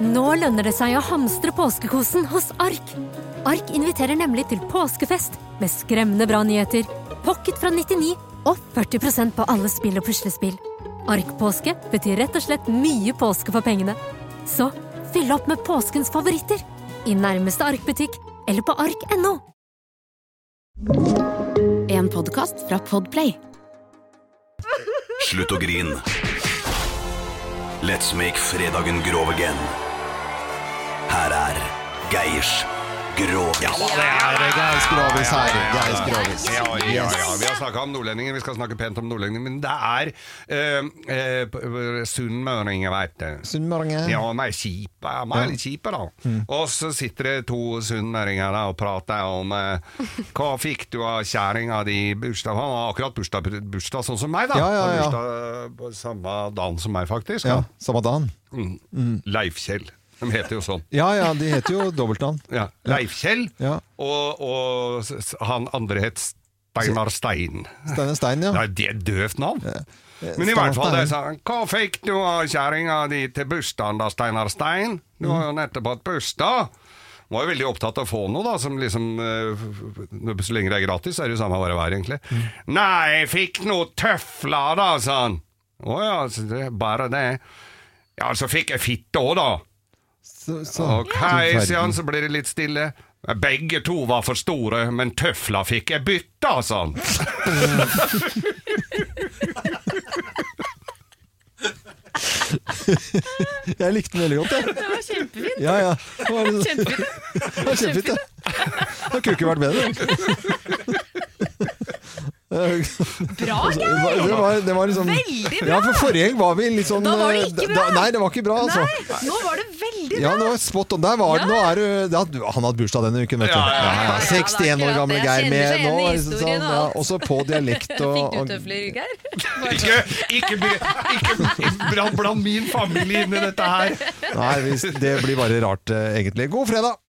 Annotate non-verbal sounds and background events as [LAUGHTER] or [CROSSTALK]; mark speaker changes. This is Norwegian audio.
Speaker 1: Nå lønner det seg å hamstre påskekosen hos Ark. Ark inviterer nemlig til påskefest med skremmende bra nyheter, pocket fra 99 og 40 på alle spill og puslespill. Ark-påske betyr rett og slett mye påske for pengene. Så fyll opp med påskens favoritter i nærmeste Ark-butikk eller på ark.no.
Speaker 2: En podkast fra Podplay.
Speaker 3: Slutt å grin. Let's make fredagen grov again. Her er Geirs Grovis.
Speaker 4: Geis Grovis her. Geis Grovis.
Speaker 5: Ja, ja, ja. Vi har snakka om nordlendinger, vi skal snakke pent om nordlendinger, men det er eh, eh, p- p- sunnmøringer, veit du.
Speaker 4: Sunnmøringe.
Speaker 5: Ja, nei, kjipe. De er litt kjipe, da.
Speaker 4: Mm.
Speaker 5: Og så sitter det to sunnmøringer der og prater om eh, Hva fikk du av kjerringa di i bursdag? Han har akkurat bursdag, bursdag sånn som meg, da.
Speaker 4: Ja, ja,
Speaker 5: Han har
Speaker 4: ja.
Speaker 5: Bursdag på samme dagen som meg, faktisk.
Speaker 4: Ja,
Speaker 5: da.
Speaker 4: samme dagen.
Speaker 5: Mm. Leif Kjell. De heter jo sånn.
Speaker 4: Ja ja, de heter jo dobbeltnavn.
Speaker 5: Ja. Leif Kjell,
Speaker 4: Ja.
Speaker 5: og, og s- s- han andre het Steinar Stein.
Speaker 4: Steine Stein, ja.
Speaker 5: Nei, det er et døvt navn. Men i hvert fall, det sa han. Hva fikk du av kjerringa di til bursdagen da, Steinar Stein? Du har
Speaker 4: Mm.
Speaker 5: jo nettopp hatt bursdag. Han var jo veldig opptatt av å få noe, da, som liksom eh, f- f- Så lenge det er gratis, er det jo samme hva det er, egentlig.
Speaker 4: Mm.
Speaker 5: Nei, jeg fikk noe tøfler, da, sa han. Å ja, så det er bare det. Ja, så fikk jeg fitte òg, da.
Speaker 4: Så- så-
Speaker 5: Ok,
Speaker 4: Du verden.
Speaker 5: sier han, så blir det litt stille. Begge to var for store, men tøfla fikk jeg bytta, sa han.
Speaker 4: Jeg likte den veldig godt, jeg.
Speaker 6: Det var kjempefint.
Speaker 4: Ja, ja. Det var litt-
Speaker 6: Kjempefint.
Speaker 4: det var kjempefint, det. Det kunne ikke vært
Speaker 6: [LAUGHS]
Speaker 4: bedre.
Speaker 6: Bra,
Speaker 4: Det
Speaker 6: Geir!
Speaker 4: var, det var, det var liksom,
Speaker 6: Veldig bra!
Speaker 4: Ja, for forrige gang var vi litt sånn
Speaker 6: Da var det ikke
Speaker 4: eh,
Speaker 6: bra.
Speaker 4: da- nei, det var ikke bra, altså.
Speaker 6: Nei, nå var det veldig
Speaker 4: Ja,
Speaker 6: bra!
Speaker 4: nå er spot on. Der var det, nå er det, ja, du- han hadde bursdag denne uken, vet du.
Speaker 5: Ja, ja, ja,
Speaker 6: ja, ja,
Speaker 4: 61 år
Speaker 6: akkurat
Speaker 4: gamle
Speaker 6: det.
Speaker 4: Geir
Speaker 6: Kjenner
Speaker 4: med
Speaker 6: seg igjen
Speaker 4: nå.
Speaker 6: i
Speaker 4: liksom
Speaker 6: historien
Speaker 4: sånn,
Speaker 6: og
Speaker 4: ja,
Speaker 6: alt.
Speaker 4: også på
Speaker 6: [LAUGHS]
Speaker 4: dialekt og,
Speaker 6: Fikk
Speaker 4: og
Speaker 6: du tøfler, Geir?
Speaker 5: Ikke, ikke, be- ikke bland, bland min familie inn i dette her.
Speaker 4: Nei, hvis- det blir bare rart, eh, egentlig. God fredag!